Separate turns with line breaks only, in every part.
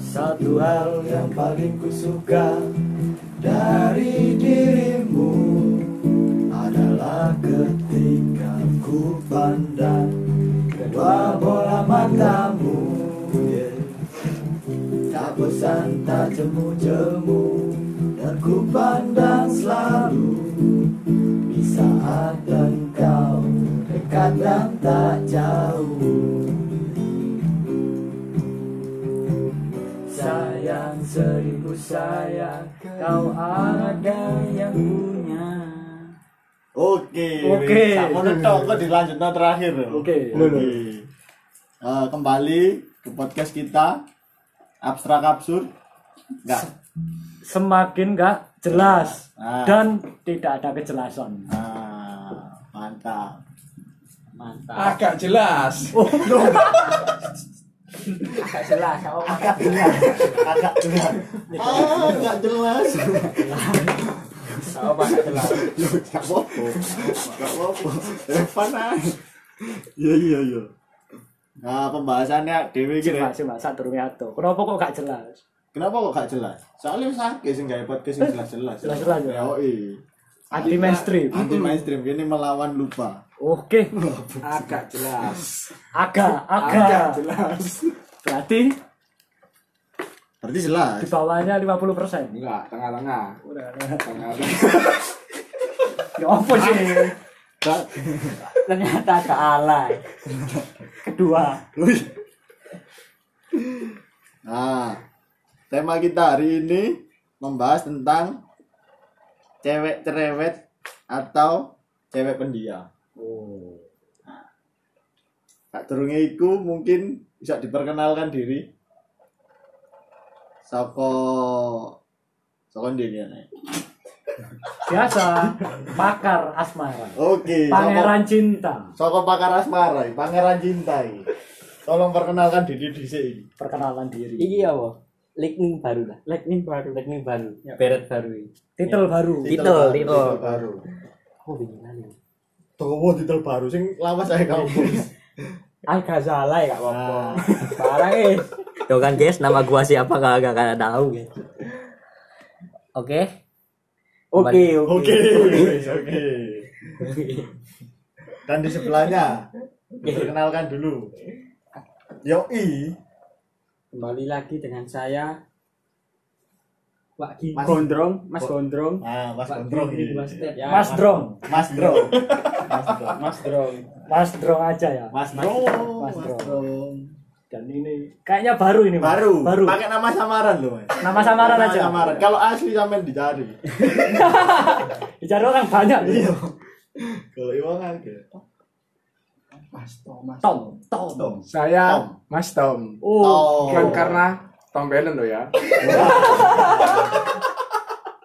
Satu hal yang paling ku suka dari dirimu adalah ketika ku pandang kedua bola matamu yeah. Tak bosan tak jemu-jemu dan ku pandang selalu di saat engkau dekat dan tak jauh Sayang seribu sayang Kau ada yang punya
Oke.
Oke.
Sak ngono tok kok dilanjutno terakhir.
Oke.
Oke. Eh, kembali ke podcast kita abstrak absurd. Enggak.
Semakin gak jelas
Ah.
Dan tidak ada kejelasan
Ah, mantap. Oh,
mantap
Agak jelas.
agak jelas apa agak
Agak jelas. Ah, enggak jelas.
apa agak jelas
Enggak apa-apa. Enggak apa-apa. Evan ae. Iya iya iya. Nah, pembahasannya dewe iki
Cuma
Rek.
cuma saat turunnya itu Kenapa kok gak jelas
Kenapa kok gak jelas? Soalnya sakit sih nggak podcast yang jelas-jelas.
Jelas-jelas ya?
Ya, oi.
Iya.
Anti mainstream
Anti mainstream ini melawan lupa.
Oke
agak jelas
Agak
agak
Agak
jelas
Berarti
Berarti jelas.
di bawahnya 50%
enggak tengah-tengah
Udah, udah.
tengah
Ya apa sih
Kak,
ternyata agak alay
Kedua
Nah, tema kita hari ini membahas tentang cewek cerewet atau cewek pendiam. Tak durunge iku mungkin bisa diperkenalkan diri. Soko Soko ndene ae.
Biasa Pakar
Iya,
asmara
Oke, soko-
Pangeran cinta
Soko pakar asmara, iki, pangeran cinta iki. Tolong perkenalkan diri dhisik iki.
Perkenalan diri
Iya.
Iki apa? Lightning baru lah. Lightning baru. Ya. Lightning baru. Beret baru. iki.
Titel baru
Titel,
baru,
titel.
titel baru.
Aku bingung lali.
Tunggu titel baru sing lawas ae kau.
Agak salah ya kak
Nah,
Parah eh. Tuh kan guys, nama gua siapa gak gak gak tahu guys. Oke. Oke,
Oke, oke. Dan di sebelahnya perkenalkan dulu. Yoi,
kembali lagi dengan saya Pak Gi
Mas-
Gondrong Mas Gondrong
nah Mas
Pak
Gondrong
Gi
ini.
Mas Ted ya
Mas Drong
Mas Drong. Mas Drong.
Mas Drong
Mas Drong aja ya.
Mas Drong. Mas
Mas Drong.
Drong.
Dan ini kayaknya baru ini Mas.
Baru,
Baru.
Pakai nama samaran loh, Mas.
Nama samaran
Nama
aja.
Samaran. Kalau asli sampean dicari.
Bicara orang banyak.
Iya. Kalau iwang agak.
Mas Thomas
Tom, Tom.
Tom.
Saya
Tom.
Mas Tom.
Oh.
Bukan Kan karena Tom Belen loh ya.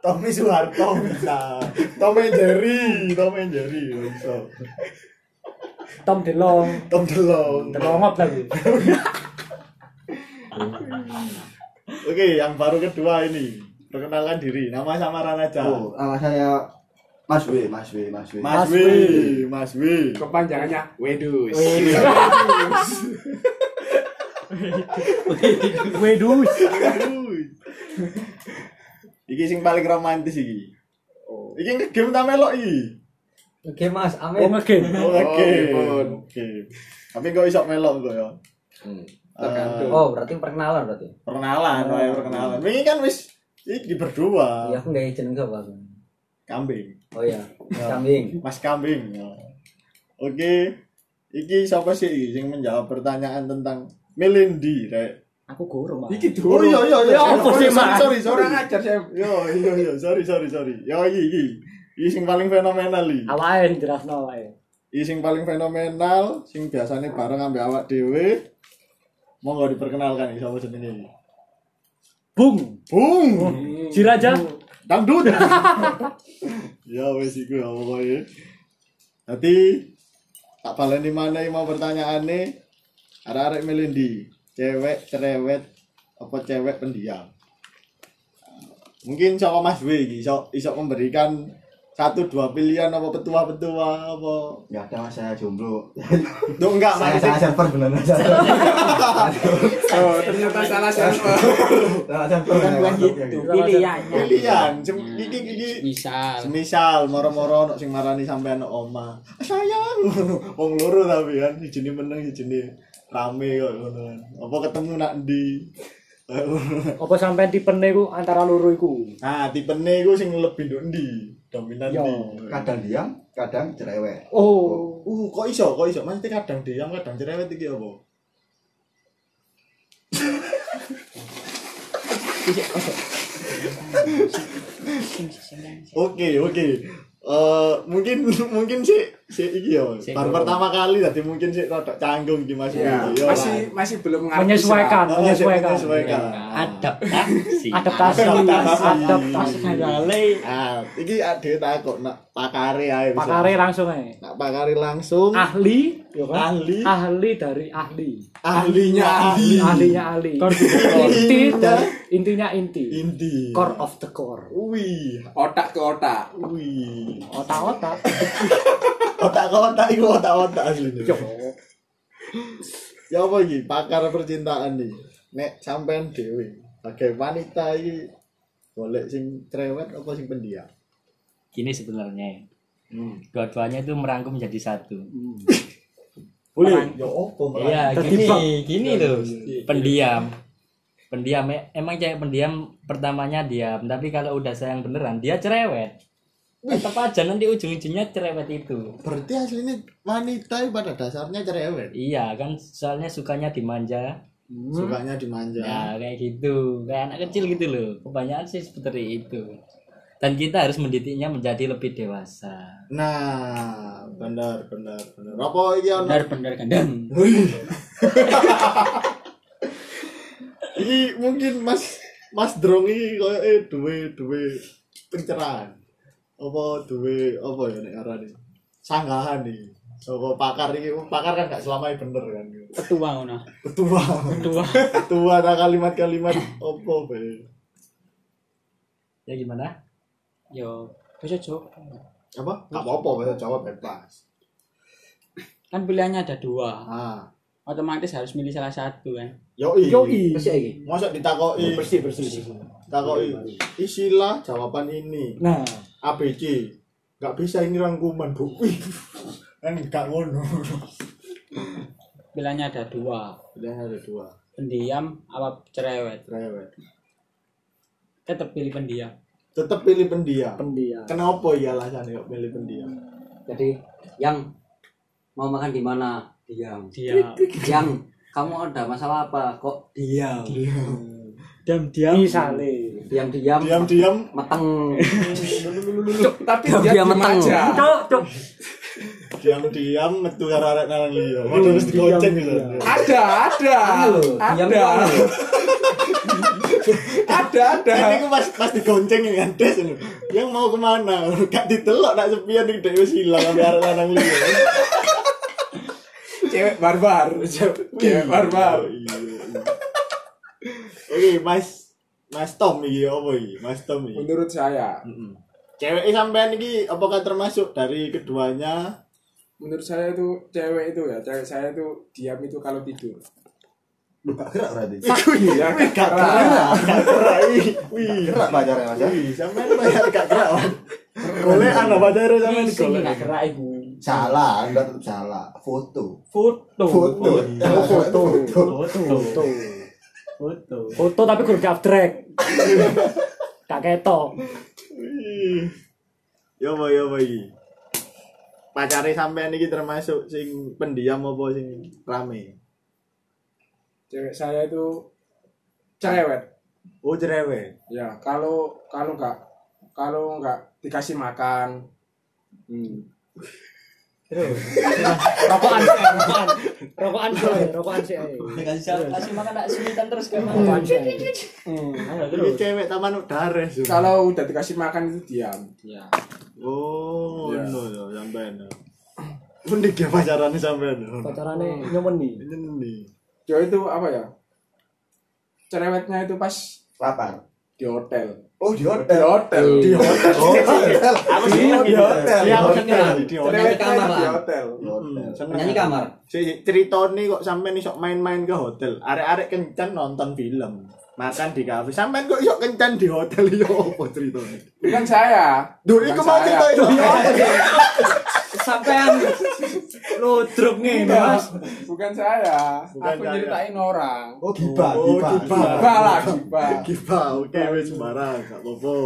Tommy Soeharto bisa. Tom and Jerry, Tom and Jerry bisa.
Tom Delong.
Tom Delong.
Delongop lagi.
Oke, yang baru kedua ini. Perkenalkan diri, nama samaran aja.
Oh, nama saya Mas W, Mas W, Mas W.
Mas
Mas
Wi,
Wi.
Mas Wi.
Kepanjangannya Wedus.
Wedus.
iki sing paling romantis iki. Iki nge-game ta melok iki.
Oke Mas,
Oh
amin.
ngegame.
Oh, Oke.
game.
Oke. Tapi kok iso melok kok ya. Eh,
Tergantung.
Oh, berarti perkenalan berarti.
Perkenalan, wae perkenalan. Wingi kan wis iki berdua.
Iya, aku gak izin gak apa.
Kambing.
Oh iya,
Ya.
kambing.
Mas Kambing. ya. Oke. Iki siapa sih iki sing menjawab pertanyaan tentang Melendi, Rek?
Aku guru, Mas.
Oh iya iya iya.
Ya, apa
Sorry,
sih, Mas?
Sorry, sorry.
Kurang ajar saya.
Yo, yo, yo, sorry, sorry, sorry. Yo, iki, iki, iki sing paling fenomenal iki.
Awalnya jelasno wae.
Iki sing paling fenomenal, sing biasanya bareng ambek awak dhewe. Monggo diperkenalkan iki sapa jenenge iki.
Bung.
Bung,
Jiraja.
dangdut. ya wes iku ya pokoke. Nanti tak baleni mana iki mau pertanyaane arek-arek melendi, cewek cerewet apa cewek pendiam mungkin sama Mas W iki iso iso memberikan satu dua pilihan apa petua-petua apa
nggak ada mas saya jomblo
Duh, enggak
saya
maksudnya
salah server benar salah
Oh, ternyata salah siapa.
eh,
salah server
Kan bukan gitu, pilihannya.
pilihan Sem- iki iki
misal
semisal moro-moro ono sing marani sampean ono oma sayang wong loro tapi kan sijine meneng sijine rame kok ngono kan apa ketemu nak ndi
Apa sampean tipene ku antara loro iku?
nah tipene iku sing lebih nduk ndi dominan
Yo.
ndi
kadang diam kadang cerewet
Oh,
uh kok iso kok iso maksudnya kadang diam kadang cerewet iki apa Oke oke. Eh mungkin mungkin sih sih iki ya.
Sih,
Baru
dulu.
pertama kali tadi mungkin sih rada canggung iki Mas.
Ya,
Willy. Yo,
masih masih belum ngerti.
menyesuaikan,
Mas. Oh, sih,
menyesuaikan.
menyesuaikan.
adaptasi
Adaptasi,
Adaptasi.
adaptasi.
Segala
Ah, iki ade takok nak pakare ae bisa.
Pakare Ah, langsung ae.
nak pakare langsung
Ahli, yo kan?
Ahli.
Ahli dari ahli.
ahlinya ahli.
Ahlinya ahli. Inti dari intinya inti.
Inti.
Core of the core.
Wih,
Otak ke otak.
wih.
Otak-otak.
Otak-otak iku otak-otak aslinya. ya apa iki pakar percintaan iki nek sampean dhewe sebagai wanita iki golek sing cerewet apa sing pendiam
gini sebenarnya
Hmm.
dua-duanya itu merangkum menjadi satu
boleh ya apa
Oh,
iya gini
Terjebak. Iya,
gini loh pendiam pendiam ya. emang cewek pendiam pertamanya diam tapi kalau udah sayang beneran dia cerewet tetap aja nanti ujung-ujungnya cerewet itu
berarti aslinya wanita iki pada dasarnya cerewet
iya kan soalnya sukanya dimanja
sukanya
Nah.
dimanja
Ya kayak gitu, kayak anak kecil gitu loh. Kebanyakan sih seperti itu. Dan kita harus mendidiknya menjadi lebih dewasa.
nah bener bener bener apa iki ono
benar-benar kandang.
Hmm.
iki mungkin mas mas drong iki koyo eh duwe duwe pencerahan apa duwe apa ya nek arane sanggahan iki saka pakar iki pakar kan gak selamanya bener kan
Petua ngono.
ketua
Petua.
ketua ada kalimat-kalimat apa be
Ya gimana?
Yo, bisa jawab.
apa gak apa-apa bahasa Jawa bebas
Kan pilihannya ada dua.
ah
Otomatis harus milih salah satu kan.
yoi
Yoi.
mosok ditakoki
Bersih, bersih.
takoki isilah jawaban ini
Nah,
ABC gak bisa ini rangkuman bu Wih, kan gak ngono
Pilihannya ada dua.
udah ada dua
Pendiam apa cerewet?
cerewet
Tetap pilih pendiam.
tetap pilih pendiam.
pendiam.
Kenapa ya alasannya kok pilih pendiam?
Jadi yang mau makan di mana? Diam.
Diam.
Yang kamu ada masalah apa? Kok diam?
Diam-diam.
Misale.
Hmm.
Diam-diam
Diam-diam
meteng.
Tapi
Diam,
dia
diam, meteng.
dimanja.
diam-diam metu karo arek nang liya. Waduh wis dikoceng gitu.
Ada, ada.
Diam
Ada. Ada, ada.
Ini ku pas pas digonceng ini kan des ini. Yang mau kemana? Gak ditelok nak sepian iki dhewe silang ambe arek lanang liya.
Cewek barbar. Cewek barbar.
Iya, iya. Oke, Mas Mas Tom iki apa iki? Mas Tom iki.
Menurut saya,
Cewek sampean iki apakah termasuk dari keduanya?
menurut saya itu cewek itu ya, cewek saya itu diam itu kalau tidur.
lu gak gerak berarti
Itu ya.
iya, Gerak. Gerak. Wih, Wih.
gerak pacarnya mas ya
Wih, sampean banyak gak gerak. Wan. Golekan apa jare sampean golekan.
salah anda tetap salah foto
Foto.
foto
Oh, foto.
Foto. Foto. Foto tapi kudu di abstrak. Gak ketok.
Wih. Yo boy, yo boy. Pacare sampean iki termasuk sing pendiam apa sing rame?
Cewek saya itu cerewet.
Oh, cerewet.
Ya, kalau kalau nggak kalau nggak dikasih makan, hmm.
Rokokan sih, rokokan. Rokokan sih, ae, rokokan sih. ae.
kasih makan tak semitan terus kan
Rokokan sih. ae.
Iki cewek taman udares. yo.
kalau udah dikasih makan itu diam.
Oh,
Ya.
ngono yo sampean. Unik ya pacarane sampean.
Pacarane nyeweni.
Ini nih.
Cewek itu apa ya? cerewetnya itu pas
lapar
di hotel.
oh
Di
di hotel
hotel.
di hotel oh, di hotel
Aku
Di
seneng gitu.
hotel.
Iya, aku
Di
seneng.
hotel.
Di hotel.
Nyanyi
Hmm,
Cerewetnya
kamar
itu di
lah.
hotel.
Di hotel.
Seneng.
Nyanyi kamar.
Si ceritone kok sampean iso main-main ke hotel. Arek-arek kencan nonton film, makan di kafe. Sampean kok iso kencan di hotel yo opo ceritone?
Bukan saya.
Duh,
Bukan
iku mau
saya.
cerita itu.
Sampean lu drop ngene,
Bukan, bukan saya.
Bukan
Aku
saya.
nyeritain orang.
oh gibah
Oh,
gibah
gibah.
Gibah lah, gibah.
Gibah, oke wis sembarang, gak apa-apa.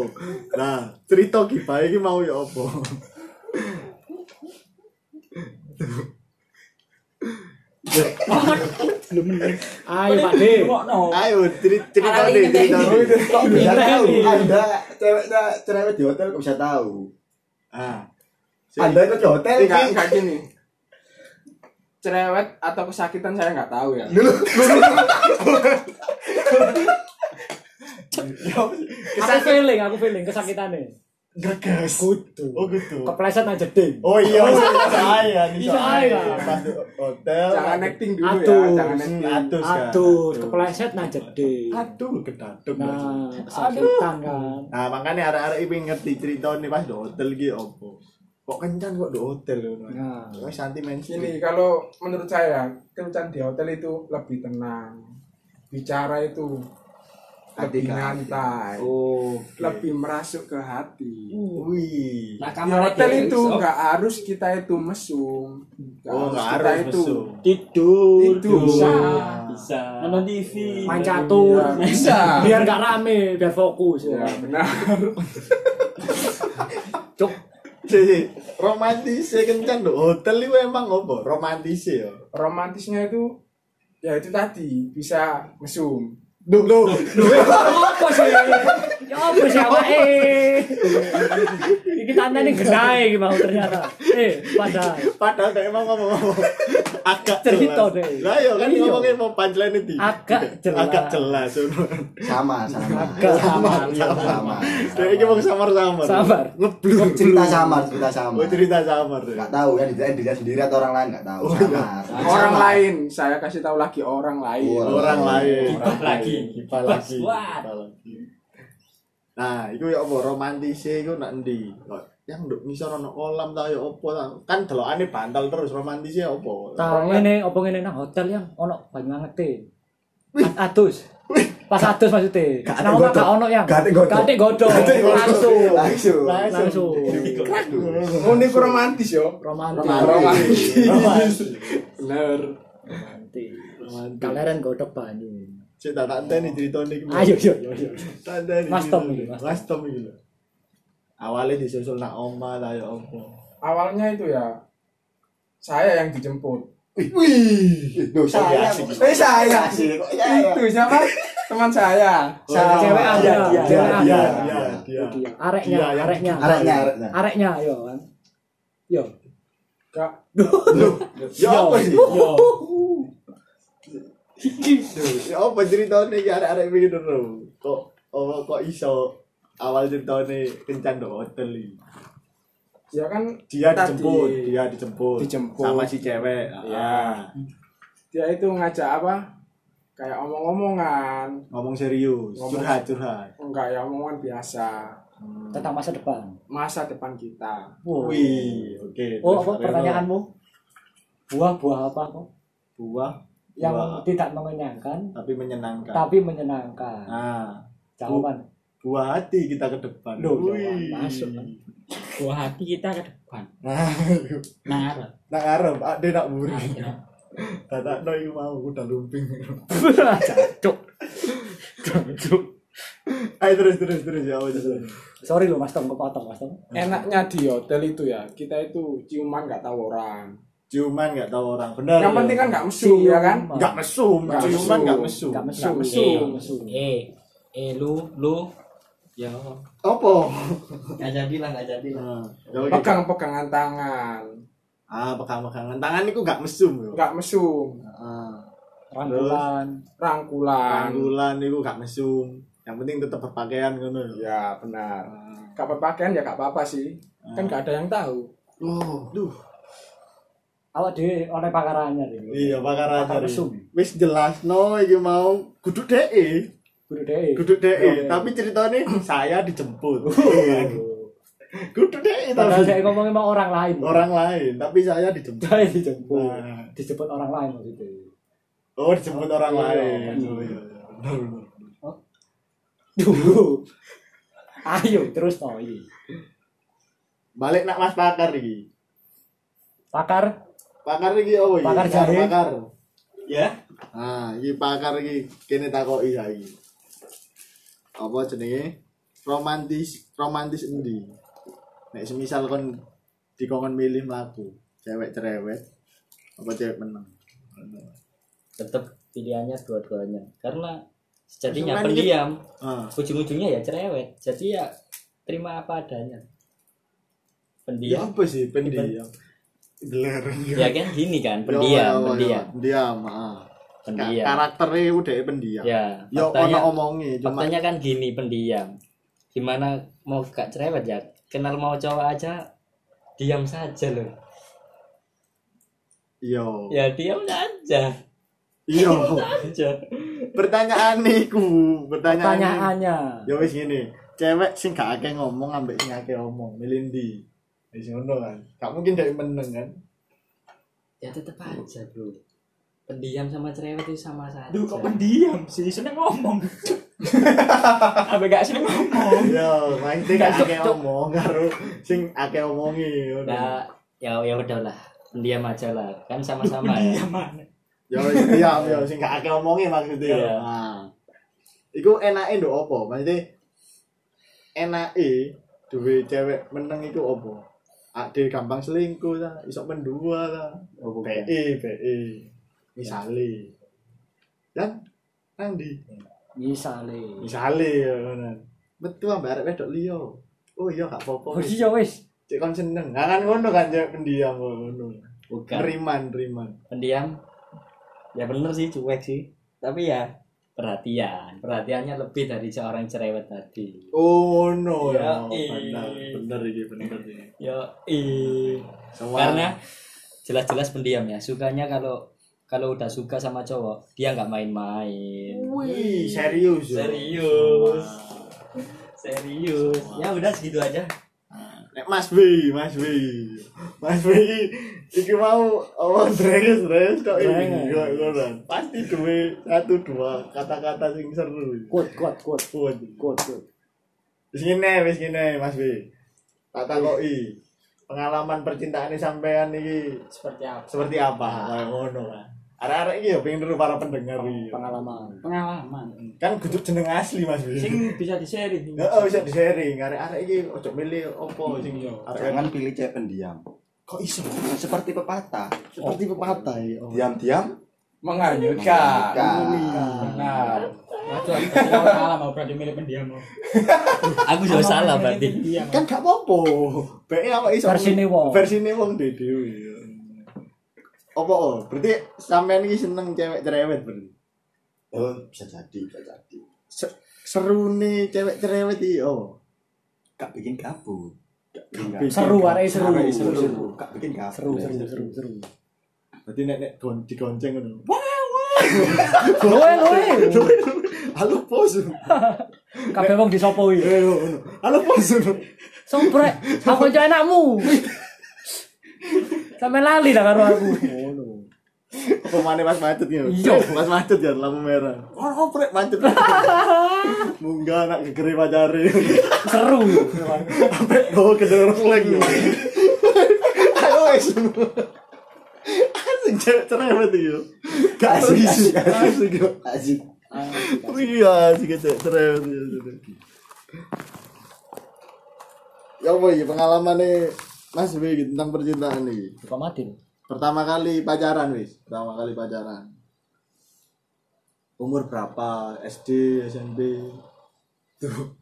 Nah, cerita gibah iki mau ya opo?
Ayo Pak D.
Ayo cerit- ceritane,
Oh,
ceritane.
itu kok bisa tahu anda ceweknya cerewet di hotel kok bisa tahu
Ah.
anda itu di hotel
Enggak,
kan
enggak gini. Cerewet atau kesakitan saya nggak tahu ya.
Aku feeling, aku feeling kesakitannya.
Greges.
Kudu.
Oh gitu.
Kepleset aja ding.
Oh iya, saya nih.
Bisa
saya.
aja.
Pas di hotel.
Jangan acting dulu
Aduh.
ya,
Hmm,
jangan acting.
Atus kan.
Aduh, kepleset aja ding.
Aduh, gedaduk.
Nah, kesakitan kan.
Nah, makanya arek-arek iki ngerti cerita nih pas di hotel iki opo. Kok kencan kok di hotel ngono.
Nah.
Wes anti mention.
Gini, kalau menurut saya, kencan di hotel itu lebih tenang. Bicara itu
Hati
lebih
ke hati.
nyantai,
Oh,
lebih merasuk ke hati.
Wih.
Nah,
Di
kamar
hotel itu nggak harus kita itu mesum. Nggak
Oh, enggak
kita
harus
itu.
mesum.
Tidur.
Itu bisa.
Nah.
bisa.
nonton TV
Main catur.
Iya, bisa.
Biar gak rame, biar fokus
Ya,
ya.
benar.
Cuk.
Jadi, romantis ya, kencan di hotel itu emang opo? Romantis ya.
Romantisnya itu ya itu tadi bisa mesum.
Duh, duh.
Apa sih? Ya apa sih awake? Iki tante ini genahe iki mau ternyata. Eh, padahal
Padahal dek emang ngomong agak
Cerita,
jelas.
Dek.
Lah iya kan
Iya.
ngomongin mau punchline itu.
Agak jelas.
Agak jelas. ya, ngono.
sama sama
agak sama.
sama
Dek iki mau samar-samar.
Samar.
Ngeblur.
cerita samar cerita samar
Mau Oh, cerita Oh, samar. Dek.
nggak tahu ya dirinya dirinya sendiri atau orang lain nggak tahu
iya.
Orang
samar Samar.
lain, saya kasih tahu lagi orang lain.
Orang
orang lain
Kipas lagi.
kipas
Kipas.
lagi
Wah.
kipas lagi nah itu ya apa romantisnya itu nak endi Kok yang nduk ngisor ono kolam ta ya apa ta kan delokane bantal terus romantisnya apa
Tahu ngene opo ngene nang hotel yang ono banyu angete. Atus. Pas atus maksudnya.
Gak ada
Nang omah
godok.
gak ono yang.
Gak ada godok.
Gak ada godok. Langsung.
langsung
Langsung.
Oh, ini ku romantis yo.
Romantis.
Romantis.
romantis
Bener.
Romantis. Kalian godok banyu.
Cek tak tak enteni ceritane iki.
Ayo, yo, yo, yo.
Tak enteni
Mas Tom
ceritane.
iki, Mas Tom.
Mas Tom iki lho. Awale disusul nak oma ta ya apa.
Awalnya itu ya saya yang dijemput.
Wih.
Duh, saya
Asik.
eh saya sih kok saya
Itu siapa? Teman saya.
Saya-
Cewek ada.
Dia, dia,
Cewek ada.
dia,
Ya,
dia.
dia.
Iya, areknya,
Iya, yang
areknya.
Areknya, areknya.
Areknya, yo. kan. Yo.
Kak,
Ya apa sih?
Yo.
Duh, ya apa ceritanya iki arek-arek iki lho. Kok apa kok iso awal ceritanya kencan do hotel iki.
ya kan
Dia
tadi,
dijemput, dia dijemput.
Dijemput.
sama si cewek.
Iya.
Ah,
Dia itu ngajak apa? Kayak omong-omongan,
ngomong serius, Hmm.
Ngomong-
curhat curhat.
enggak ya omongan biasa
Tentang masa depan.
masa depan kita.
Wow.
Wih, oke. Terus
Oh, apa
Reno,
pertanyaanmu? Buah-buah apa kok?
Buah
Yang
Buah.
tidak mengenyangkan,
tapi menyenangkan.
tapi menyenangkan.
Nah,
Jawaban.
buah hati kita ke depan.
Loh,
Wih.
ya
jawaban masuk, kan?
buah hati kita ke depan
Nah,
nah
nak arep, ade nak buri. Tata no iku mau udah lumping.
Cuk.
Ayo terus terus terus ya apa terus.
Sorry loh Mas Tom kepotong Mas Tom.
Enaknya di hotel itu ya, kita itu ciuman nggak tahu orang.
Ciuman nggak tahu orang benar.
Yang
ya.
penting kan nggak mesum ya kan?
Nggak mesum,
Nggak
ciuman
mesum.
nggak mesum.
Enggak mesum.
Nggak mesum.
Nggak mesum.
Eh, eh lu, lu. Ya.
Apa?
Enggak jadilah, enggak jadilah.
Nah, ya oke.
Pegang-pegangan tangan,
Ah, pegang-pegangan tangan niku nggak mesum yo. Ah.
nggak mesum,
Heeh.
Rangkulan.
rangkulan.
Panggulan niku nggak mesum. Yang penting tetap berpakaian ngono yo.
Ya
Ah.
benar. Kapan pakaian ya nggak apa-apa sih, kan nggak ada yang tahu.
Loh, duh.
Awak dhewe oleh pakarannya dhewe.
Iya, bakar aja.
Bakar mesum.
Wih, wis jelas no iki mau kudu DE
Kudu deh.
kudu DE
Oke.
tapi ceritanya saya dijemput kudu DE
Padahal
tapi
dia ngomongin sama orang lain.
orang lain tapi saya dijemput
Dia dijemput.
Nah.
Dijemput orang lain maksudnya.
oh dijemput orang
Iya.
lain Oh, iya, iya. Benar, benar.
Duh. Ayo terus toh iya.
balik nak mas pakar iki
Pakar
pakar iki oh, apa iki
Pakar jahe.
pakar
Ya.
nah iki pakar iki kene takoki saiki apa jenenge romantis romantis endi nek semisal kon dikongkon milih mlaku cewek cerewet apa cewek menang
tetap pilihannya dua-duanya karena
Maksudnya
sejatinya
kan
pendiam
ah
ujung-ujungnya ya cerewet jadi ya terima apa adanya
ya
pendiam
apa sih pendiam Beler.
ya kan gini kan pendiam pendiam
pendiam ah
pendiam
karakternya udah pendiam
ya
yo ono
faktanya,
omongi cuma
faktanya kan gini pendiam gimana mau gak cerewet ya kenal mau cowok aja diam saja loh
yo
ya diam saja
yo
aja
Nah, pertanyaan niku pertanyaan niku.
pertanyaannya.
ya wis ngene cewek sing gak akeh ngomong ambek sing akeh omong milih ndi wis ngono kan gak mungkin dari meneng kan
ya tetap aja bro pendiam sama cerewet itu sama saja
Duh kok pendiam sih, seneng ngomong. Apa gak seneng ngomong?
ya maksudnya gak akeh omong karo sing akeh omongi ngono.
Nah, ya ya udahlah pendiam aja lah kan sama-sama ya
Pendiam mana?
ya wis diam ya sing gak akeh omongi maksudnya
Iya.
nah iku enake nduk apa maksudnya enake duwe cewek meneng iku apa ade gampang selingkuh ta iso mendua ta
Oh,
PE PE misale dan nang ndi
Misalnya.
misale ya ngono. metu ambek arek wedok liya oh iya gak
Oh
apa-apa wis.
iya wis.
cek kon seneng Nah, kan ngono kan cek pendiam kok ngono
bukan
riman riman
pendiam ya bener sih cuek sih tapi ya perhatian perhatiannya lebih dari seorang cerewet tadi
oh no
Ya,
ya
eh.
bener bener iki bener iki
yo ih
Semua-
karena jelas-jelas pendiam ya sukanya kalau kalau udah suka sama cowok dia nggak main-main
wih serius ya?
Serius.
Wah.
serius ya udah segitu aja
Nek Mas B, Mas B. Mas B iki iki mau oh drenges drenges kok ini
Drenges.
kok ngono. Pasti duwe satu dua kata-kata sing seru.
Kuat kuat kuat
Kuat.
kuat kuat.
Wis ngene, wis ngene Mas B. Tak takoki. Pengalaman percintaane sampean iki
seperti apa
seperti apa? Kayak ngono lah. Arek-arek iki ya pengen niru para pendengar iki.
Oh, Pengalaman.
Pengalaman.
Kan kudu jeneng asli Mas B.
Sing bisa di-sharing.
Heeh, bisa di-sharing. Arek-arek iki ojo milih opo sing
Iya.
arek
Jangan pilih cewek pendiam.
kok iso
Seperti pepatah,
seperti pepatah ya. Oh.
diam-diam
Menganyutkan.
Menganyutkan.
Benar.
Waduh, aku salah mau berarti milih pendiam. mau.
aku juga salah berarti
Pendiam.
kan gak apa-apa bae awak iso
Versine wong.
versine wong dhewe dhewe apa oh berarti sampean iki seneng cewek cerewet berarti
Oh, bisa jadi, bisa jadi.
seru nih cewek cerewet iki oh
Gak bikin kabur. Gak bikin
Seru
kabur.
arek seru.
Arek
Seru seru.
Gak bikin kabur.
Seru seru seru seru.
berarti nek nek gon digonceng ngono wah
Loe loe.
halo bos
Kabeh wong disopoi.
Eh, halo bos
Somprek, aku aja enakmu. Sampai lali dah karo aku. Ngono.
pemane pas macet ya
Iya.
pas macet ya lampu merah oh, oh prek macet munggah anak gegere pacare
Seru.
sampai bawa ke dalam leng ayo wes asik cewek cerewet itu gak asik asik asik ya.
Asik.
iya asik cewek cerewet itu ya apa ya pengalamannya Mas Wi gitu, tentang percintaan nih
Buka mati. lho.
pertama kali pacaran wis pertama kali pacaran umur berapa SD SMP tuh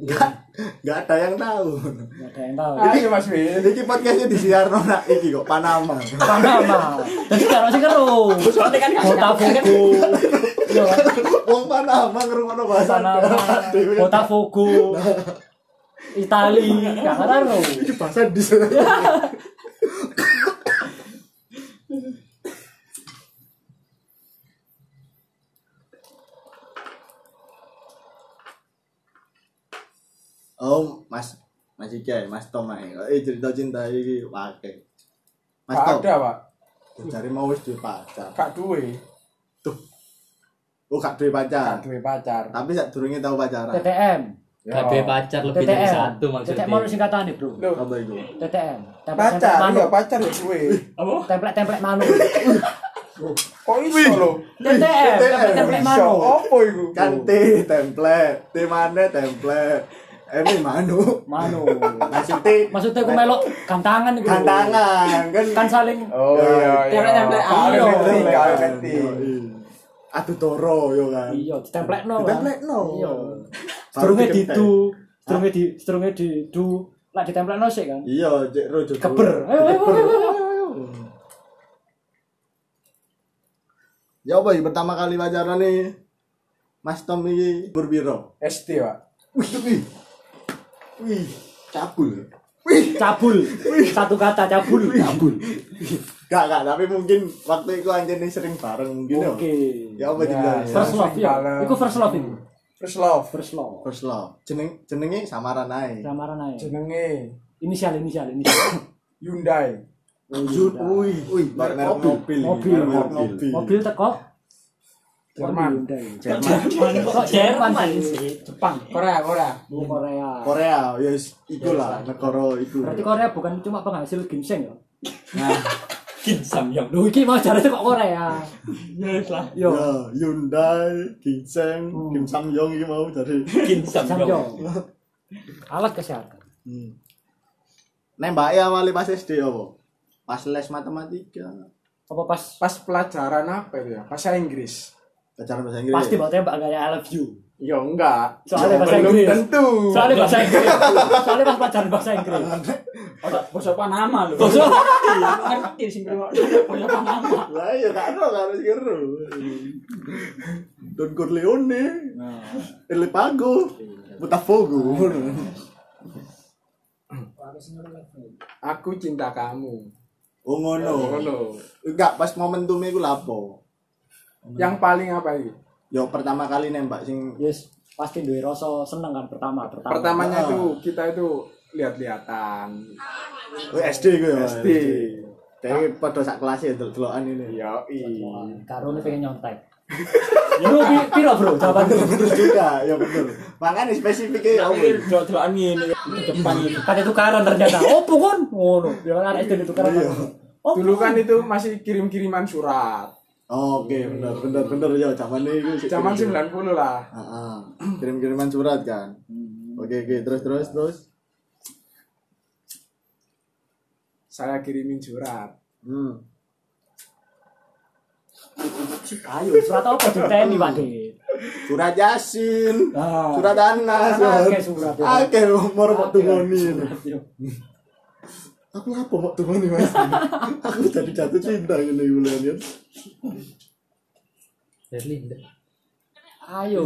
nggak nggak ada yang tahu
Nggak ada yang tahu.
Ayo Mas Wi.
ini podcastnya di siar nona iki kok Panama
Panama. Jadi karo sing kero.
Soalnya kan gak
Botafogo. Iya kan?
Wong Panama ngerungokno bahasa
Panama.
Dewe.
Botafogo. Itali. Gak karo.
Iki bahasa di Oh, Mas Mas Iki, Mas Tom ae. Eh cerita cinta iki pakai. Mas
Gak
Tom,
ada pak
cari mau wis duwe pacar.
Gak duwe
Oh, gak duwe
Gak
pacar.
duwe pacar
Tapi sadurunge tau pacaran.
TTM
Gak duwe Ya. pacar lebih dari
TTM
satu maksudnya.
TTM mau singkatan nih bro
Loh,
Apa iku?
TTM
pacar
manu
iya pacar ya duwe
template template manu
kok iso lo
TTM
TTM.
template template
iso
manu
opo iku
Kan T template, T mana template. Eh, ini manu.
manu
Maksudnya
maksudnya aku melok gantangan nih bro
gantangan kan
kan saling
oh iya iya
Template-template
Gak
ayo.
ngerti gak ngerti
Aduh Kan toro yo kan.
iya template no
Ditemplekno.
iya
Baru
Strungnya di
ditemplek.
du, strungnya di strungnya di du, lah ditempel no sih kan.
Iya, cek rojo.
Keber. Ayo, ayo,
Keber.
ayo,
Ya apa ya, pertama kali pacaran nih? Mas Tom ini berbiro.
SD pak
Wih, wih. Wih, cabul.
Cabul. Satu kata cabul.
Cabul. Gak, gak, tapi mungkin waktu itu anjir nih sering bareng mungkin ya.
Oke.
Ya apa dibilang ya?
First love ya. Iku first love itu.
first love
First love.
First love. Jeneng jenenge samaran ae.
Samaran aja.
jenenge
Inisial inisial inisial.
Hyundai
Jun, wih, wih, merek merek mobil,
Mobil.
Merek merek mobil,
Mobil teko Kok
Jerman
di Hyundai? Kok Jerman sih? Jepang.
Korea Korea
Oh, Korea.
Korea, ya yes, ikulah, negara iku.
Berarti Korea bukan cuma penghasil ginseng ya.
Kin Samyong.
Lho iki mau jarane kok Korea.
Yo, Hyundai, Ginseng, Kim Samyong iki mau dari
Kin Samyong.
Samyong. Alat kesehatan.
hmm. Nembake awale pas SD apa? Pas les matematika.
Apa pas
pas pelajaran apa itu ya bahasa Inggris
Pacaran
Iya.
bahasa Inggris.
pasti bawa tembak kayak I love you.
ya enggak
Soalnya bahasa
Belum
Inggris.
tentu
Soalnya bahasa Inggris. Soalnya pas pacaran bahasa Inggris.
Bosok Panama lho.
Bosok.
Iya, aku ngerti sing ngrungok. Bosok Panama.
Lah ya gak ero gak harus kero. Don Corleone. El Pago. Botafogo.
aku cinta kamu
Oh ngono.
Ngono.
Enggak pas momentum iku lapo.
yang paling apa itu
Yo pertama kali nembak sing
Yes, pasti duwe rasa seneng kan pertama, pertama.
pertamanya itu kita itu lihat-lihatan
oh, SD iku ya.
SD.
Tapi pada sak kelas ya delokan ini.
ya
Wah, Karo ini pengen nyontek. Ya lu pi- piro bro jawaban lu.
Bener juga, ya bener. Makanya spesifiknya ya
Tapi
Allah.
delok-delokan ngene di depan iki.
Kan tukaran ternyata. Opo kon? Ngono. Ya kan anak SD tukaran.
Iya.
Opo?
dulu kan itu masih kirim-kiriman surat
Oke, bener bener bener ya zaman itu.
zaman 90 lah
Heeh. Kirim-kiriman surat kan.
Hmm.
Oke oke, terus terus terus.
saya kirimin surat
Hmm.
Ayo surat apa diteni Pak De?
Surat Yasin,
Ah.
surat Anas,
Akeh surat, ya.
Akeh umur mau tungoni.
Yo.
Aku apa mau tungoni Mas? Aku jadi jatuh cinta ngene iki bulan ya.
Ayo.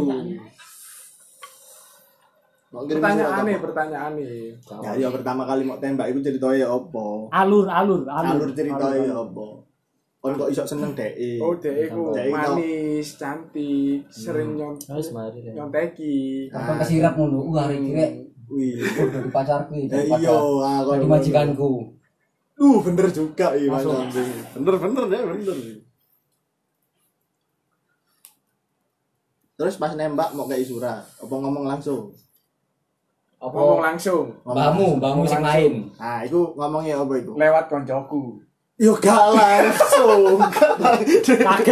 Mau kirim surat
pertanyaan
apa?
nih pertanyaan nih
Ya ya pertama kali mau tembak itu ceritanya ya apa?
Alur alur alur.
Alur ceritanya ya apa? Kon kok iso seneng dek.
oh dek iku
Dek iku.
manis cantik sering nyont
Oh, iya.
nyonteki
Kapan kesirap mulu? Wah, kira
Wih.
dari pacarku itu.
Eh, iya, ah,
Dari
kon-
majikanku.
Uh, bener juga iya Mas Amri. Bener bener ya, bener. Terus pas nembak mau kayak surat, apa ngomong langsung?
Oh.
ngomong langsung
Ngomong.
bamu sing lain.
Nah, itu ngomongnya apa itu?
lewat koncoku
Yo gak langsung.
Kaget. aku.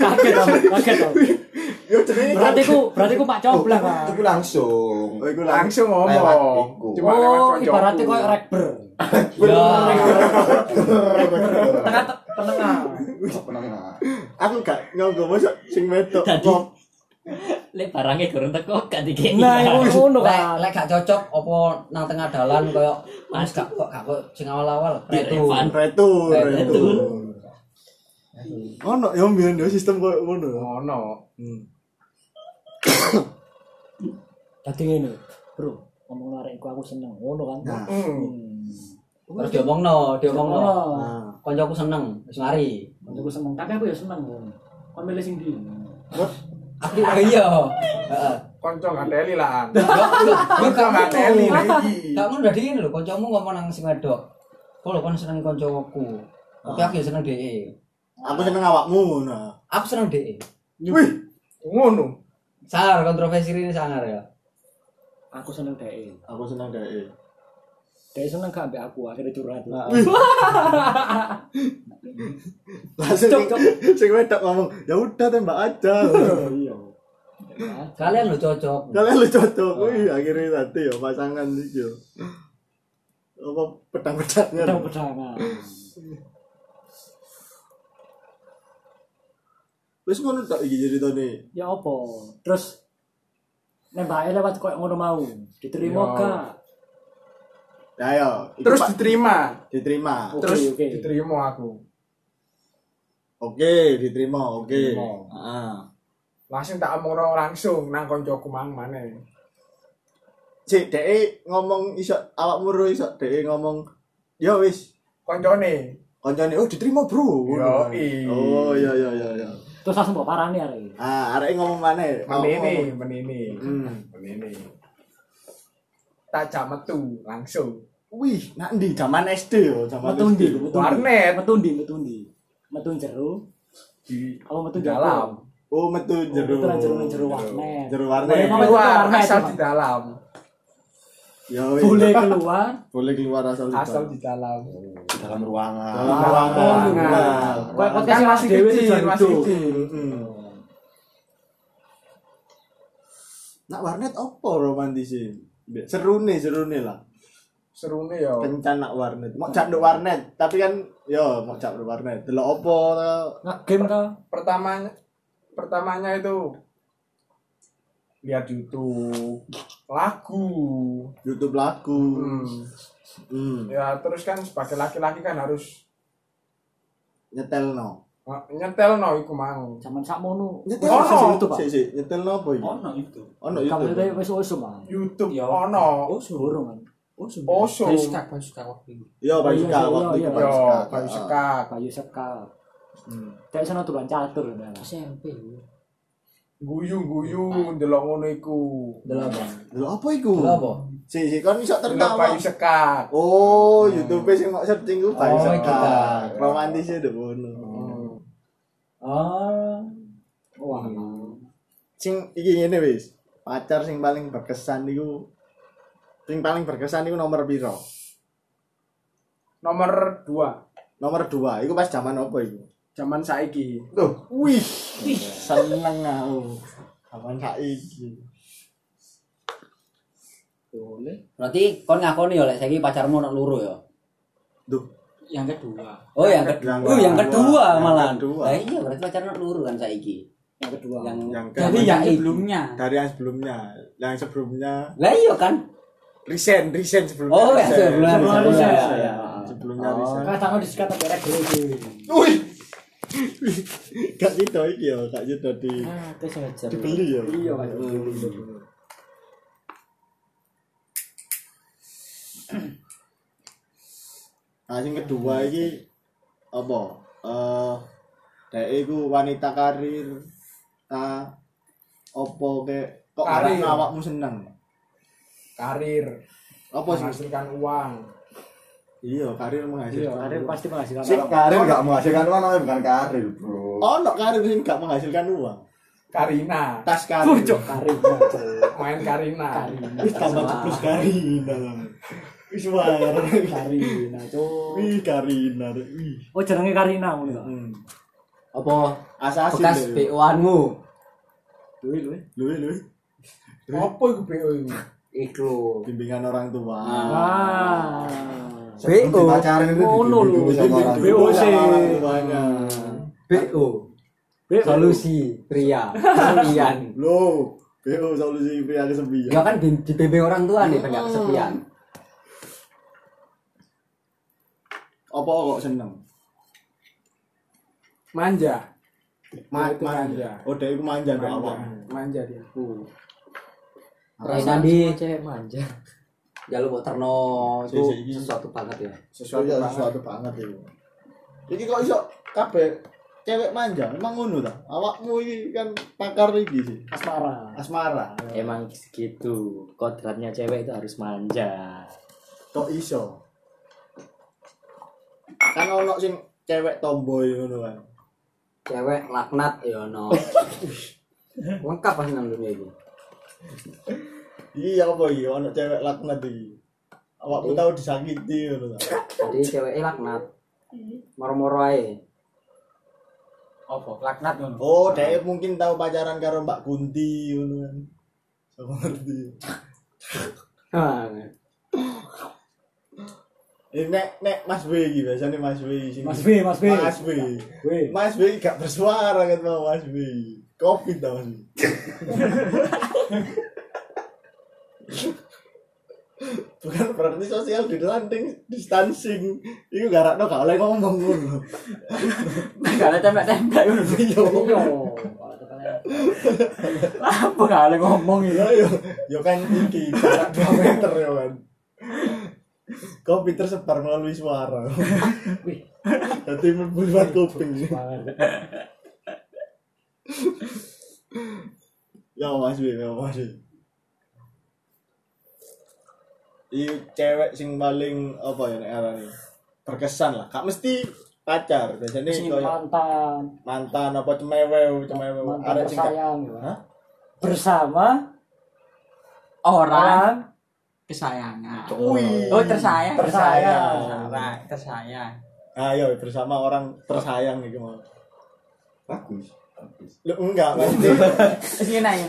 Kaget aku, kaget. aku.
Yo jenenge
Berarti ku berarti ku Pak Coblak. Pak.
Itu langsung.
Oh, iku langsung.
langsung
Lewat
ngomong
iku.
cuma lewat
Oh,
koncoku
ibaratnya koyo rekber. Tengah tengah.
Aku gak nyonggo masa sing wedok. Wong.
Lek barangnya goreng teko gak dikei.
Nah, iku
iya.
ngono
Lek
kan.
lek gak cocok apa nang tengah dalan koyo Mas gak kok gak kok sing awal-awal. Itu.
Direvan.
Retur, retur.
Retur.
Ono yo mbiyen yo ya, sistem koyo ngono. ya.
ngono
Dadi ngene, Bro. Ngomong arek iku aku seneng ngono kan.
Nah.
Hmm.
Terus diomongno, diomongno.
Ngono.
Nah,
Koncoku seneng wis mari.
Aku seneng. Tapi aku ya seneng ngono. Kon milih sing ndi?
Aku oh iya. Heeh.
konco ngandeli lah. Konco ngandeli lagi.
Gak ngono dadi ngene lho, kancamu ngomong nang sing wedok. Kalau kon seneng kancaku. Tapi aku ya seneng dhek.
Aku seneng awakmu nah.
Aku seneng dhek.
Wih, ngono.
Sangar kontroversi ini sangar ya.
Aku seneng DE.
Aku seneng dhek.
DE seneng gak ambek aku akhirnya curhat.
Langsung
Cok, cok.
sing wedok ngomong, "Ya udah tembak aja." Iya.
Kalian lho cocok.
Kalian lu cocok.
Nah.
Wih, akhirnya nanti ya pasangan iki yo. Apa pedang-pedangnya?
Pedang pedangan.
Wis ngono tak iki ceritane.
Ya apa? Terus nembake lewat koyo ngono mau. Diterima
Ya.
gak?
Ya ayo, iki,
Terus
Pak.
diterima,
diterima.
Oke,
terus
oke.
diterima aku.
Oke, diterima. Oke.
Diterima.
Heeh.
Langsung tak omongno langsung nang koncoku mang maneh.
Cek dhek e ngomong iso awakmu ro iso dhek ngomong, "Ya wis,
Koncone.
koncone oh diterima, Bro." Ngono.
Yoi.
Oh, iya iya iya iya.
Terus langsung mbok parani arek.
Ah, arek ngomong maneh. oh,
Menini, menini.
Hmm.
Menini. Tak jam metu langsung.
Wih, nak ndi zaman SD yo, zaman
Metu ndi?
SD.
Metu ndi?
Warnet
Metu ndi? Metu ndi? Metu jero.
di
Apa metu jero?
dalam.
Oh, metu jero.
Metu nang jero nang jero warnet.
Jero
Boleh
warnet.
ngomong.
Keluar
warnet,
asal
Pak.
di dalam.
Ya wis.
Boleh keluar.
Boleh keluar asal
Asal di dalam.
dalam ruangan.
Dalam ruangan.
ruangan.
Kayak
Kan
podcast
masih
dewe
kecil, masih kecil.
Hmm. Nak warnet opo romantis Seru nih, seru nih lah.
Serune ya.
Kencan nak warnet. Mau cak nduk warnet, tapi kan yo mau cak nduk warnet. Delok opo ta?
Game ta?
Nah, Pertamanya pertamanya itu lihat YouTube, lagu.
YouTube lagu.
Hmm.
Hmm.
Ya terus kan sebagai laki-laki kan harus
Nyetelno.
eh, nyetel no iku mau.
Zaman sakmono.
Ono.
Sing YouTube, Pak.
Sik sik, Oh, nyetelno opo iki?
Ono itu.
Ono
Kamu
YouTube.
itu wis usum, Pak.
YouTube
Iya,
ono.
Oh, suruh.
Burung kan.
Oh, suruh.
Oso.
kan suka waktu itu.
Yo, Pak
Iya,
Yuka,
iya,
waktu
iya.
itu Pak
Yo,
Yuka.
kayu
Ah.
sekak.
Kayu sekal.
Hmm.
Kayak sono tulan catur. Nah.
SMP.
Iya.
Guyu-guyu ndelok ngono iku.
Delok apa?
Delok opo iku?
Delok apa?
Sik sik, kon iso
Ndelok
tertawa.
kayu sekak.
Oh, YouTube sing mau searching ku Pak
Oh,
Yuka.
kita.
Romantisnya udah ngono.
Hmm.
Ah.
Oh.
Wah.
Hmm.
Sing iki ngene wis. Pacar sing paling berkesan niku sing paling berkesan niku nomor piro?
Nomor 2.
Nomor 2. Iku pas zaman apa iku?
Zaman saiki.
Loh, wih. Seneng aku. Kapan saiki?
Berarti kon ngakoni ya lek saiki pacarmu nak luru ya.
Duh,
Yang kedua.
Oh yang kedua.
yang
Oh yang kedua
kedua.
malah.
Yang kedua.
Lah iya berarti pacarmu nak luru kan saiki.
Yang kedua.
Yang
yang
Jadi
ke
yang
Saiki.
sebelumnya.
dari yang sebelumnya, yang sebelumnya
Lah iya kan.
resign, resign sebelumnya.
Oh,
iya,
yang
resign.
sebelumnya
sebelumnya.
resign.
resign. Sebelumnya resign.
Kadang di sekitar berek dhewe.
Wih. Kak Cito iki ya, Kak Cito di
Ah, terus ngejar.
dibeli ya.
Iya, Kak Cito
Nah, sing kedua iki apa? Eh dhek iku wanita karir ta opo ke kok
Karir.
karir awakmu seneng?
Karir.
Apa sih?
Menghasilkan uang.
Iya, karir menghasilkan.
Iya, ada pasti penghasilan.
Sing karir gak menghasilkan uang namanya bukan karir, Bro.
Ono Oh, karir sing gak menghasilkan uang.
Karina.
Tas karir.
Karir.
Main Karina.
Wis tambah terus Karina. Wis wae.
Karina, Cuk.
Wih Karina. Wih.
Oh, jenenge Karina ngono ta.
Hmm.
Apa
Asasin
bekas
deh.
BO-anmu?
Duwe duwe.
Luwe luwe.
Apa iku BO ini?
Iku.
Bimbingan orang tua.
Nah. Wah.
Sebelum
BO.
dipacarin itu
Ngono lho.
dibimbing sama orang
Bimbing
tua.
BOC.
Tuanya.
BO. Solusi pria. Kesepian.
Lo, BO solusi
Ya
pria kesepian.
kan di di BB orang tua nih banyak kesepian.
Apa kok seneng?
Manja.
Ma-
Itu manja.
Oh, dia iku manja ndek
Manja.
awakmu.
Manja dia.
Rai Nandi
cewek manja.
jalur Boterno itu
Sisi ini.
sesuatu banget ya.
Sesuatu sesuatu banget iku. Iki kok iso kabeh cewek manja memang ngono ta awakmu ini kan pakar iki sih
asmara
asmara
Emang gitu. Kodratnya cewek itu harus manja.
tok iso kan ono sing cewek tomboy ngono kan
cewek laknat ya no lengkap pas nang dunia ini
iya apa iki ono cewek laknat iki awakmu tau disakiti ngono ta
jadi cewek laknat moro-moro ae
Apa? Laknat ngono.
oh dhek mungkin tau pacaran karo Mbak Kunti ngono kan sama ngerti
Ah,
Eh, nek nek Mas W iki biasanya Mas W sing
Mas B Mas B
Mas W
Weh.
Mas B gak bersuara kan sama Mas B Covid tau Mas B bukan berarti sosial distancing distancing itu gak gak oleh ngomong ngono
Gak ada tembak-tembak ngono.
yo
Apa gak ada ngomong ya?
yo Iya, yo kan iki jarak 2 meter yo kan Covid tersebar melalui suara
Wih.
jadi membuat kuping Ya Mas Bi, ya Mas Bi. Iku cewek sing paling apa ya nek arane. Berkesan lah. Kak mesti pacar. Biasanya
Sing
koyo
mantan
mantan apa cemewew, cemewew.
mantan
Ada sing gak-
tersayang ya.
Hah?
bersama
Orang
orang
kesayangan.
Wih.
Oh, tersayang.
Tersayang.
Tersayang. Tersayang.
Ayo Ah, iya, bersama orang tersayang iki mau.
Bagus. Bagus.
Lu enggak maksudnya
Terus ngene ae.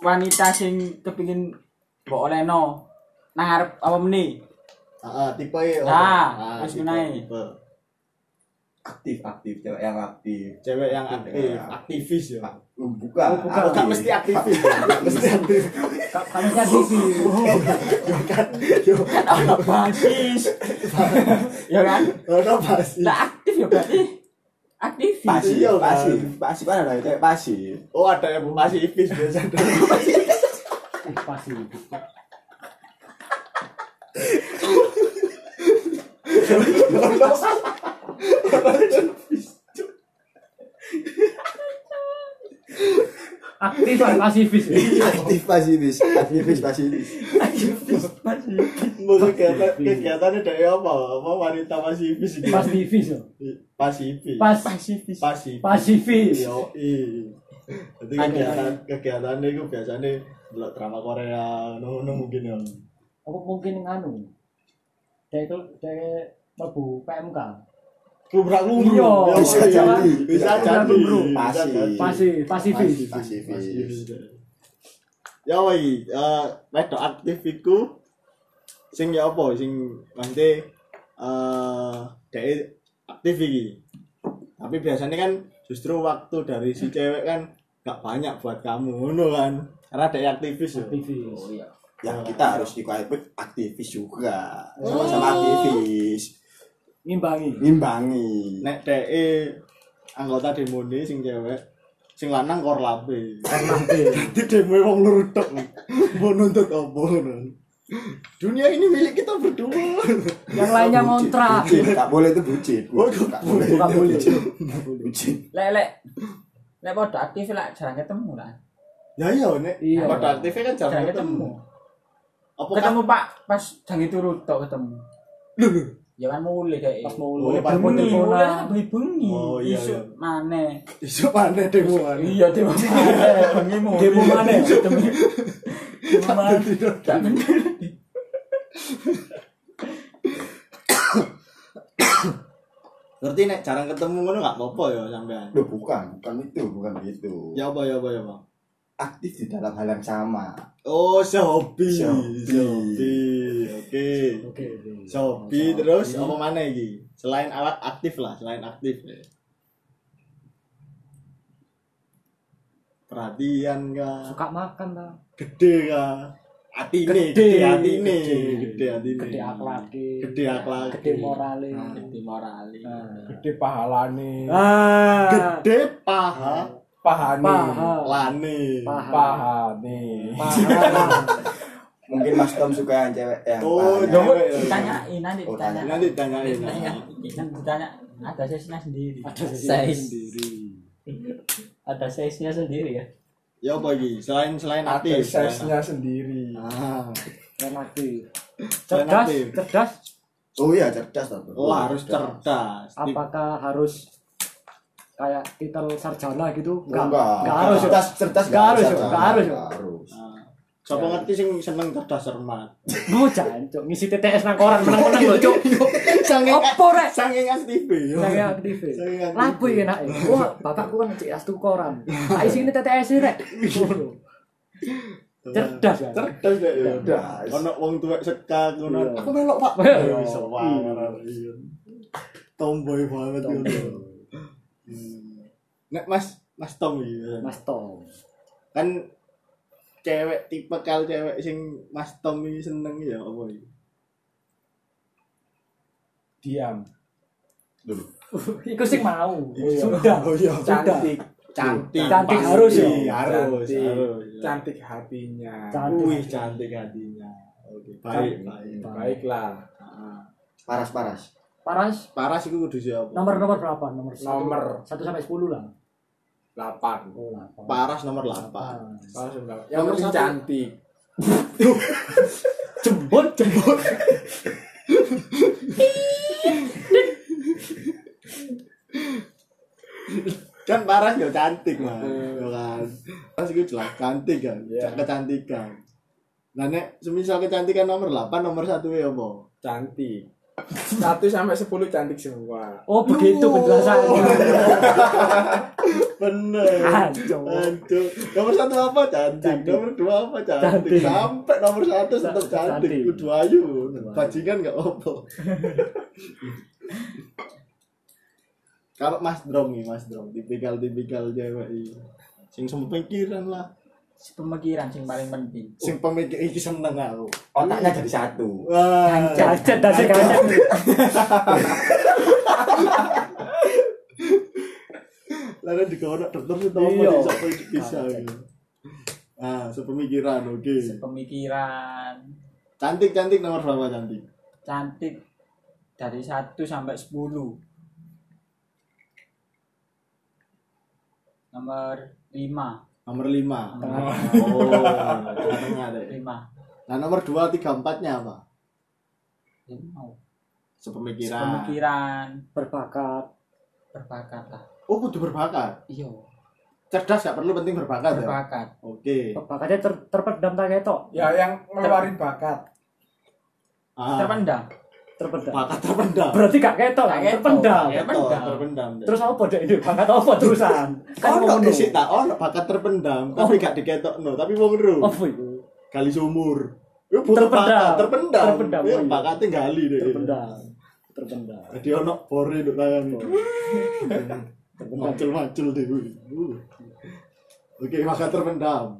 Wanita sing kepingin mbok olehno nang arep apa meni?
Heeh, tipe ya.
Nah,
Ah,
terus
tipe,
ngenai.
tipe.
Aktif, aktif, cewek yang aktif.
Cewek yang aktif,
Iya.
aktivis ya.
Oh, Bukan.
Bukan, bukan mesti aktivis. Gak mesti aktif.
kamu kan sisi
Kan ana basis. Ya kan?
Ono pasti.
Lah aktif ya berarti. Aktif.
Pasif,
Iya, kan?
pasif, pasif kan ada cewek pasif.
Oh, ada yang masih aktivis biasanya.
pasti aktif dan pasifis
Aktif pasifis, aktivis pasifis.
Maksud kegiatan kegiatannya dari apa? Apa wanita pasifis gitu?
pasifis yo.
pasifis.
pas
pasifis.
pasifis
Yo i. Jadi kegiatan kegiatannya itu biasanya delok drama Korea, nunggu nunggu mungkin ya.
aku mungkin nganu dari dari lebu PMK
Kubrak lumbu.
Iya,
bisa
iya.
jadi.
Bisa
Kubrak
jadi.
lumbu.
Bisa
Pasif.
jadi.
pasti pasifis
Pasifis.
Pasifis. Ya woi, eh wedok aktif iku sing ya apa sing nanti eh dhek aktif iki. Tapi biasanya kan justru waktu dari si cewek kan gak banyak buat kamu ngono kan. Karena dhek aktivis yo.
pasifis
Yang kita harus dikualifikasi aktivis juga. Sama-sama aktivis.
ngimbangi
Ngimbangi.
Nek dhek anggota demone sing cewek sing lanang korlape. Dadi demo wong loro tok. Mau nuntut apa ngono. Dunia ini milik kita berdua.
yang lainnya ngontrak
Bucin, tak boleh itu bucin.
Oh,
Gak boleh.
Gak boleh.
Bucin. Bucin.
Lek lek lek padha aktif lek jarang ketemu lah.
Ya iya nek
Iya.
pada aktifnya kan jarang
Jarang
ketemu.
ketemu.
Oh,
Apa kan
Ketemu Pak pas jangi turu tok ketemu. Ya kan mulai kayak pas
pas mau
Oh,
lu
pas
mau
bengi, mulai
teleponan
bengi.
Oh, iya,
Isuk
iya.
maneh.
isu mana demo mana?
Iya, demo maneh. Bengi mau.
demo mana
Demo maneh. Gak bener.
Ngerti nek jarang ketemu ngono gak apa-apa ya sampean.
Loh, bukan, bukan itu, bukan itu.
Ya apa ya apa ya, Bang.
Aktif di dalam hal yang sama.
Oh, sehobi.
Sehobi.
Sehobi. Oke.
oke
Sehobi terus
Hmm.
apa mana iki? Selain alat aktif lah, selain aktif. ya. Perhatian kah?
suka makan lah
Gede kah? Hati ini, gede
Gede.
hati ini,
Gede.
gede hati ini.
gede akhlaki
Gede Ah, akhlaki.
gede morale
Di morali.
Gede pahalane.
ah
Gede paha
Pahane.
paha
lane.
paha
Pahane.
Mungkin Mas Tom suka yang cewek yang
Oh,
pahanya.
cewek.
Ditanyain nanti
Oh,
ditanyain.
Nanti ditanyain.
Ditanya,
nah.
ditanya,
Ada size-nya sendiri.
Ada sisi
Size.
sendiri.
Ada size-nya sendiri ya.
Ya apa iki? Selain selain aktif. ya.
size-nya sendiri
Ah.
mati
Selain
cerdas
aktif.
cerdas
Oh iya cerdas lah, Bro.
Oh, harus cerdas.
apakah harus kayak titel sarjana gitu
Enggak,
nggak harus
Cerdas, cerdas
Nggak harus,
Sarjana.
nggak harus.
Nggak harus.
Ah. Siapa ngerti sing seneng cerdas cermat.
gue jancok ngisi TTS nang koran menang menang loh cok
Sange
opo rek
sange aktif.
saya aktif
Saya aktif.
lapu enak ya wah bapakku kan cek as koran tak isi ini TTS sih, rek Waduh. cerdas ya
Cerdas deh. ya.
Cerdas.
Ono wong tuwek sekak ngono.
Iya.
Aku melok, Pak.
Iya.
Ya, wis warar, iya. Tomboy banget ngono. Hmm. Nek Mas Mas Tom iki. ya.
Mas Tom
Kan cewek tipe kal cewek sing Mas Tom iki seneng ya apa iki?
diam
Iku sih mau
sudah
Oh iya.
cantik cantik
Cantik
pasti.
harus ya?
Harus,
Cantik.
harus.
cantik hatinya
Cantik.
Wih, cantik hatinya. Oke, baik, baik.
baiklah
Paras, paras.
Paras
Paras iku kudu siapa?
nomor nomor berapa nomor satu-
Nomor.
satu sampai sepuluh lah
delapan
oh delapan.
Paras nomor 8.
Salah sebelah. yang
Nomor
penting
satu.
cantik
jembut jembut
Kan Paras ya cantik, Mas. Ya kan. Paras iku jelas cantik kan,
Iya.
kecantikan. Nah, nek semisal kecantikan nomor 8, nomor 1 ya apa?
cantik satu sampai sepuluh cantik semua
oh begitu penjelasannya
Bener.
Aduh.
Aduh. Nomor 1 apa cantik, nomor 2 apa cantik.
Cantik.
Sampai nomor 1 tetap
Cantik.
cantik. Kudu ayu. Bajingan enggak apa. Kalau Mas Drom nih, Mas Drom, tipikal-tipikal cewek iki. Sing pemikiran lah.
Pemikiran sing paling penting.
Sing pemikir iki seneng aku.
Otaknya jadi satu.
Iya. Wah.
Cacat dasi cacat.
Lalu di kau dokter sih tau
Iya.
mau sampai bisa. gitu. Ah, sepemikiran, oke.
Pemikiran
Cantik cantik nomor berapa cantik?
cantik dari 1 sampai 10. Nomor 5.
Nomor lima.
Nomor
Oh, tengah-tengah deh.
5.
Nah nomor dua tiga empatnya apa?
Mau.
Sepemikiran.
Pemikiran
Berbakat.
berbakat lah.
Oh kudu berbakat.
Iya,
Cerdas gak perlu penting berbakat ya.
berbakat.
Oke.
Bakatnya ter terpendam tak ketok.
ya yang ngeluarin bakat
Ah,
Terpendam.
Terpendam.
Bakat terpendam.
Berarti gak ketok,
Gak
gak
ketok.
terpendam.
Ya,
Betul,
pendam.
terpendam. Dek.
Terus apa dek ini? Bakat apa terusan?
kan
mau
ono
ngono.
sih tak ono bakat
Oh.
terpendam, tapi gak diketokno, tapi wong ero.
Apa itu?
Gali sumur. Yo butuh
Oh. Terpendam.
bakat terpendam.
Terpendam,
Yo
oh iya.
bakate gali deh.
Terpendam. Terpendam.
Jadi ono pore nduk tangan. Macul-macul deh. Uh. Oke, bakat terpendam.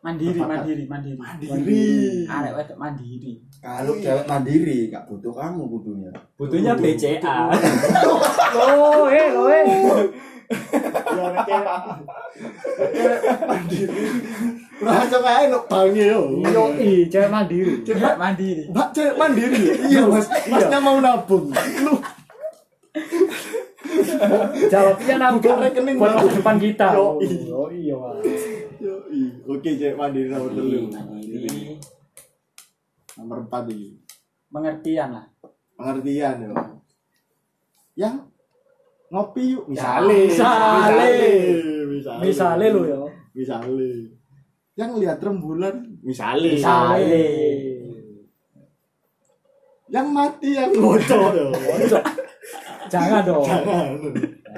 Mandiri,
Berbakat.
mandiri, mandiri.
Ah.
Mandiri.
Arek wedok mandiri.
Kalau cewek mandiri, gak butuh kamu kudunya.
Butuhnya BCA.
Oh, eh, lo eh.
Ya nek kewek- nek kewek mandiri. Rasa kae nduk bangi yo.
Yo, i, cewek mandiri.
Cewek mandiri.
Mbak cewek mandiri. Iya, Mas. Masnya mau nabung. Lu
Jawabnya
Buka
nabung
rekening,
iya buat
Bang.
masa depan kita.
Yo, i.
Oh, iya. Wak.
Yo, i. Oke, cewek mandiri nomor telu.
Nah, Mandiri.
Nomor 4 iki.
Pengertian lah.
pengertian ya yang ngopi yuk
Misale.
misale
Misalnya lo yo.
misale yang lihat rembulan misale
Misale.
yang mati yang bocor yo
Jangan dong.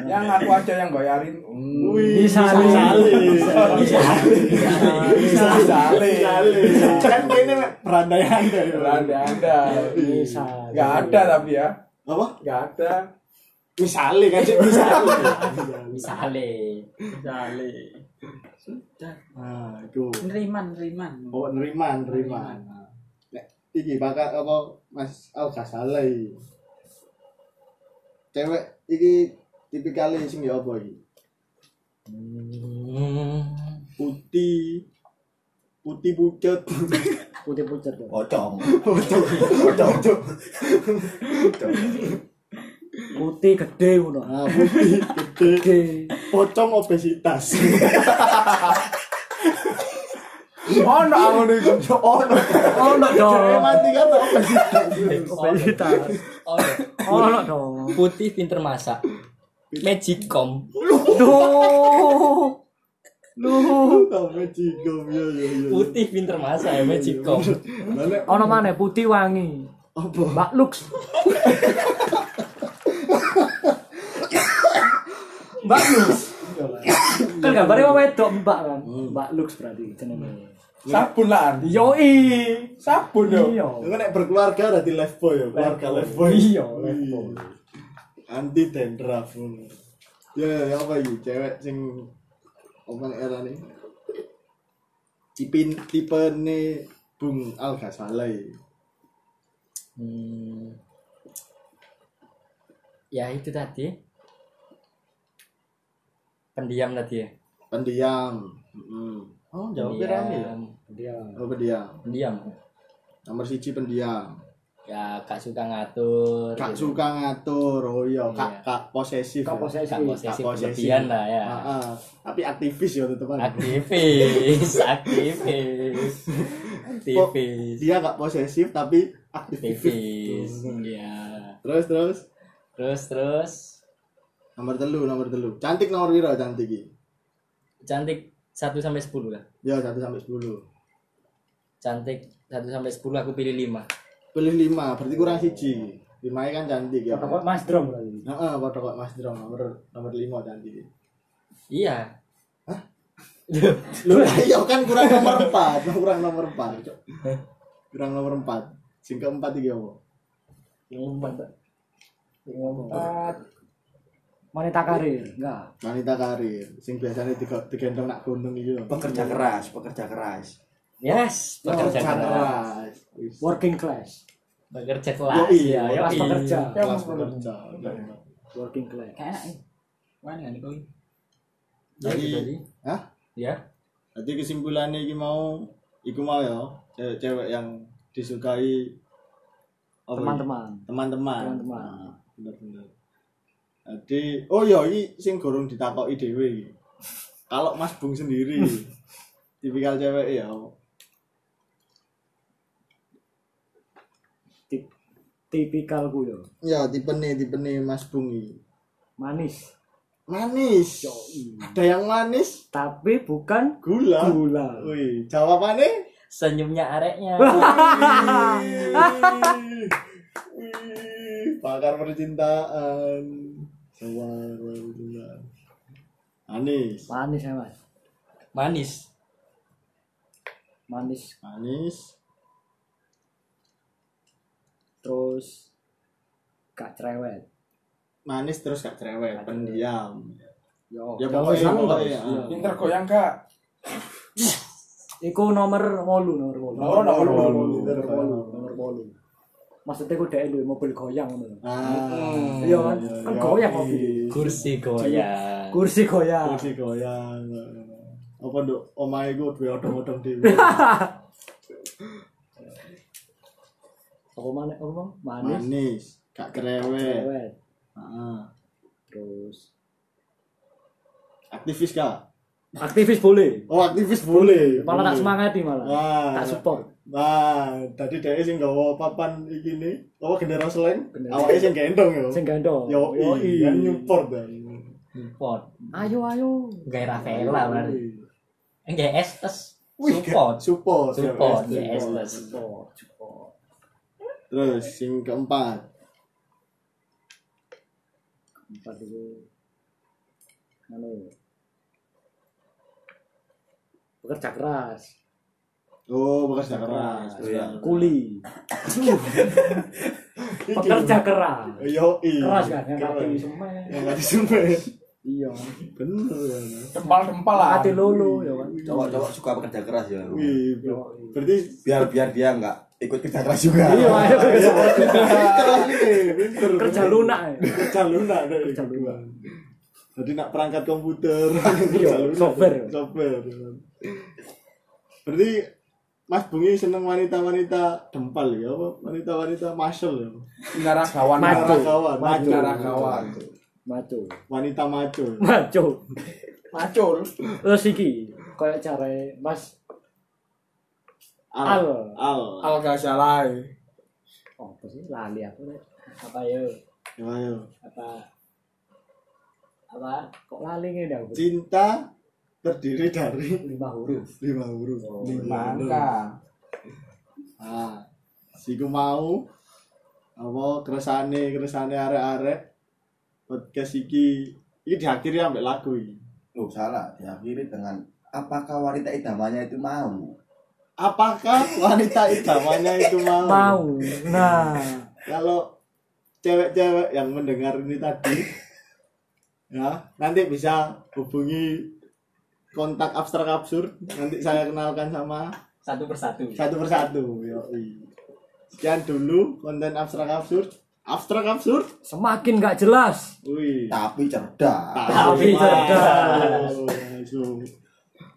yang aku aja yang bayarin hmm.
Wih,
Misale.
misale.
Nah, Misale.
Misale. Kan ini berandai-andai.
ada ada
Misale.
nggak ada tapi ya
Apa?
nggak ada
Misale kan sih misale.
Misale.
Jale.
Nah, itu.
Neriman, neriman.
Oh, nerima, nerima. Nek iki bakal apa Mas Al gak salah iki. Cewek iki tipikal sing ya apa iki? Putih putih pucet
Putih pucet dong.
Pocong.
pocong pocong
putih gede ngono
Nah, putih, gede,
gede
pocong obesitas.
Oh, no, aku nih.
ono
Cewek
Oh, dong Oh,
mati kan obesitas.
iya.
obesitas
Oh,
ono dong
putih pinter masak. Magicom.
duh
Lu sampe cigom ya ya ya.
Putih pinter masak ya Magicom.
Lale
ono mana putih wangi
apa?
Mbak Lux Mbak Lux kan gambarnya mau wedok Mbak kan Mbak Lux berarti jenenge
Sabun lah. Andi.
yoi
Sabun yo.
iya
Lu nek berkeluarga berarti left boy ya, keluarga left boy.
Iya,
left boy. Hmm. Anti dendraf. Ya, ya apa iki cewek sing apa nek era nih? Tipin tipe nih Bung Al Ghazali.
Hmm. Ya itu tadi. Pendiam tadi ya.
Pendiam. Heeh. Oh, jawabnya rame ya. Oh, pendiam.
Pendiam.
Nomor siji pendiam.
Ya gak suka ngatur.
Kak
gitu.
suka ngatur, oh iya, kak, kak posesif. ya.
Kak posesif.
Gak posesif
Gak posesif.
berlebihan lah ya.
Ah, ah. tapi aktivis ya teman-teman.
Aktivis, aktivis. Aktivis.
Dia gak posesif tapi aktivis.
Aktivis. Ya.
Terus terus
Terus terus
nomor telu nomor telu. Cantik nomor piro cantik iki?
cantik 1 sampai 10 lah.
Ya 1 sampai 10.
Cantik 1 sampai 10 aku pilih 5.
Pilih 5, berarti kurang siji. 5 kan cantik ya.
Kok
Heeh,
Mas Drom berarti
nah, padha kok Mas Drong nomor nomor 5 cantik.
Iya.
Lho, lah iya kan kurang nomor 4, kurang nomor 4. Kurang nomor 4. Sing keempat iki apa?
wanita karir enggak
Wanita karir, sing biasanya digo- digendong nak gunung iki lho.
pekerja keras pekerja keras
Yes,
Oh,
pekerja keras.
keras. Wis.
working class
Pekerja kelas. ya,
Yoi,
iya.
kelas
kelas pekerja
Kelas pekerja.
working class
Kayak enak. Mana nih kau? Iya,
Jadi, hah?
Ya.
Jadi kesimpulannya iki mau iku mau ya cewek-cewek yang disukai apa
teman-teman
iki? teman-teman.
Teman-teman.
Nah, bener-bener. Jadi oh iya iki sing gorong ditakoki dhewe iki. Kalau Mas Bung sendiri tipikal cewek ya
Tip, tipikal gue yo
ya tipe nih tipe nih Mas Bung iki.
manis
Manis. Ada yang manis
tapi bukan
gula.
gula
Wih, jawabannya
Senyumnya areknya.
Wih, wih, Pakar percintaan. Sewar percintaan. Anis.
manis ya mas
Manis.
manis
Anis.
terus gak cerewet
Manis terus gak cerewet, pendiam.
yo
Ya pokoknya, pokoknya.
Pinter goyang gak?
iku nomor wolu nomor wolu
Nomor nomor nomor.
nomor wolu nomor wolu maksudnya gue dari mobil goyang ngono.
Ah,
iya kan kan goyang
iya.
mobil
Kursi goyang.
kursi goyang
Kursi goyang. iya, Apa nduk omahe ku duwe odong-odong dhewe.
aku mana aku mau manis
Manis, gak cerewet.
cerewet
Heeh.
terus
Aktivis gak?
aktivis boleh
Oh, aktivis boleh.
malah
Boleh.
tak semangati malah
Wah.
tak support
Nah, tadi dia sing gawa papan iki nih, apa gendera seleng?
Gendera.
Awake sing gendong yo.
sing gandong
Yo iya
Yoi.
nyupport dan.
Support.
ayo ayo
Gaya Rafaela
Iya.
berarti. Gaya Estes.
Wih,
Support.
support. ya, yo,
Support.
yes,
Gaya
support.
Estes.
Terus sing keempat,
empat itu anu bekerja keras
oh bekas keras.
iya.
kuli
Iki.
pekerja keras
Yo iya.
keras kan yang hati semen
Yang kati sumpah.
iya
Bener ya.
Tempal-tempal lah.
hati lolo ya kan
cowok-cowok suka pekerja keras ya
Wih, ber-
Yoi.
berarti
biar biar dia nggak ikut kerja keras juga
iya ayo
keras ini, eh, pinter.
kerja lunak ya.
Kerja lunak deh.
Kerja lunak.
Jadi nak perangkat komputer,
Iya,
Jalur
software.
software. kan? Berarti Mas Bungi seneng wanita-wanita dempal ya apa wanita-wanita masel ya.
Naragawan.
Naragawan, maco.
Naragawan.
maco
Wanita maco.
maco
Macul.
terus iki kayak cara mas
Al.
Al.
Al.
Alga Syalai.
oh, apa sih lali aku Rek. apa yo
Ya, ayo.
apa Nah. apa kok lali ini aku
Cinta terdiri dari
lima huruf
lima huruf.
Oh, Lima angka.
Ah. Siku mau apa keresane keresane arek-arek podcast iki iki diakhiri ambek lagu iki.
Oh, salah. Diakhiri dengan apakah wanita idamannya itu mau?
Apakah wanita idamannya itu mau?
mau nah
Kalau cewek-cewek yang mendengar ini tadi ya, nanti bisa hubungi kontak abstrak absurd nanti saya kenalkan sama
Satu persatu.
satu persatu yoi. sekian dulu konten abstrak absurd abstrak absurd
semakin gak jelas
wih
Tapi cerdas.
Tapi cerdas.
Aduh, aduh.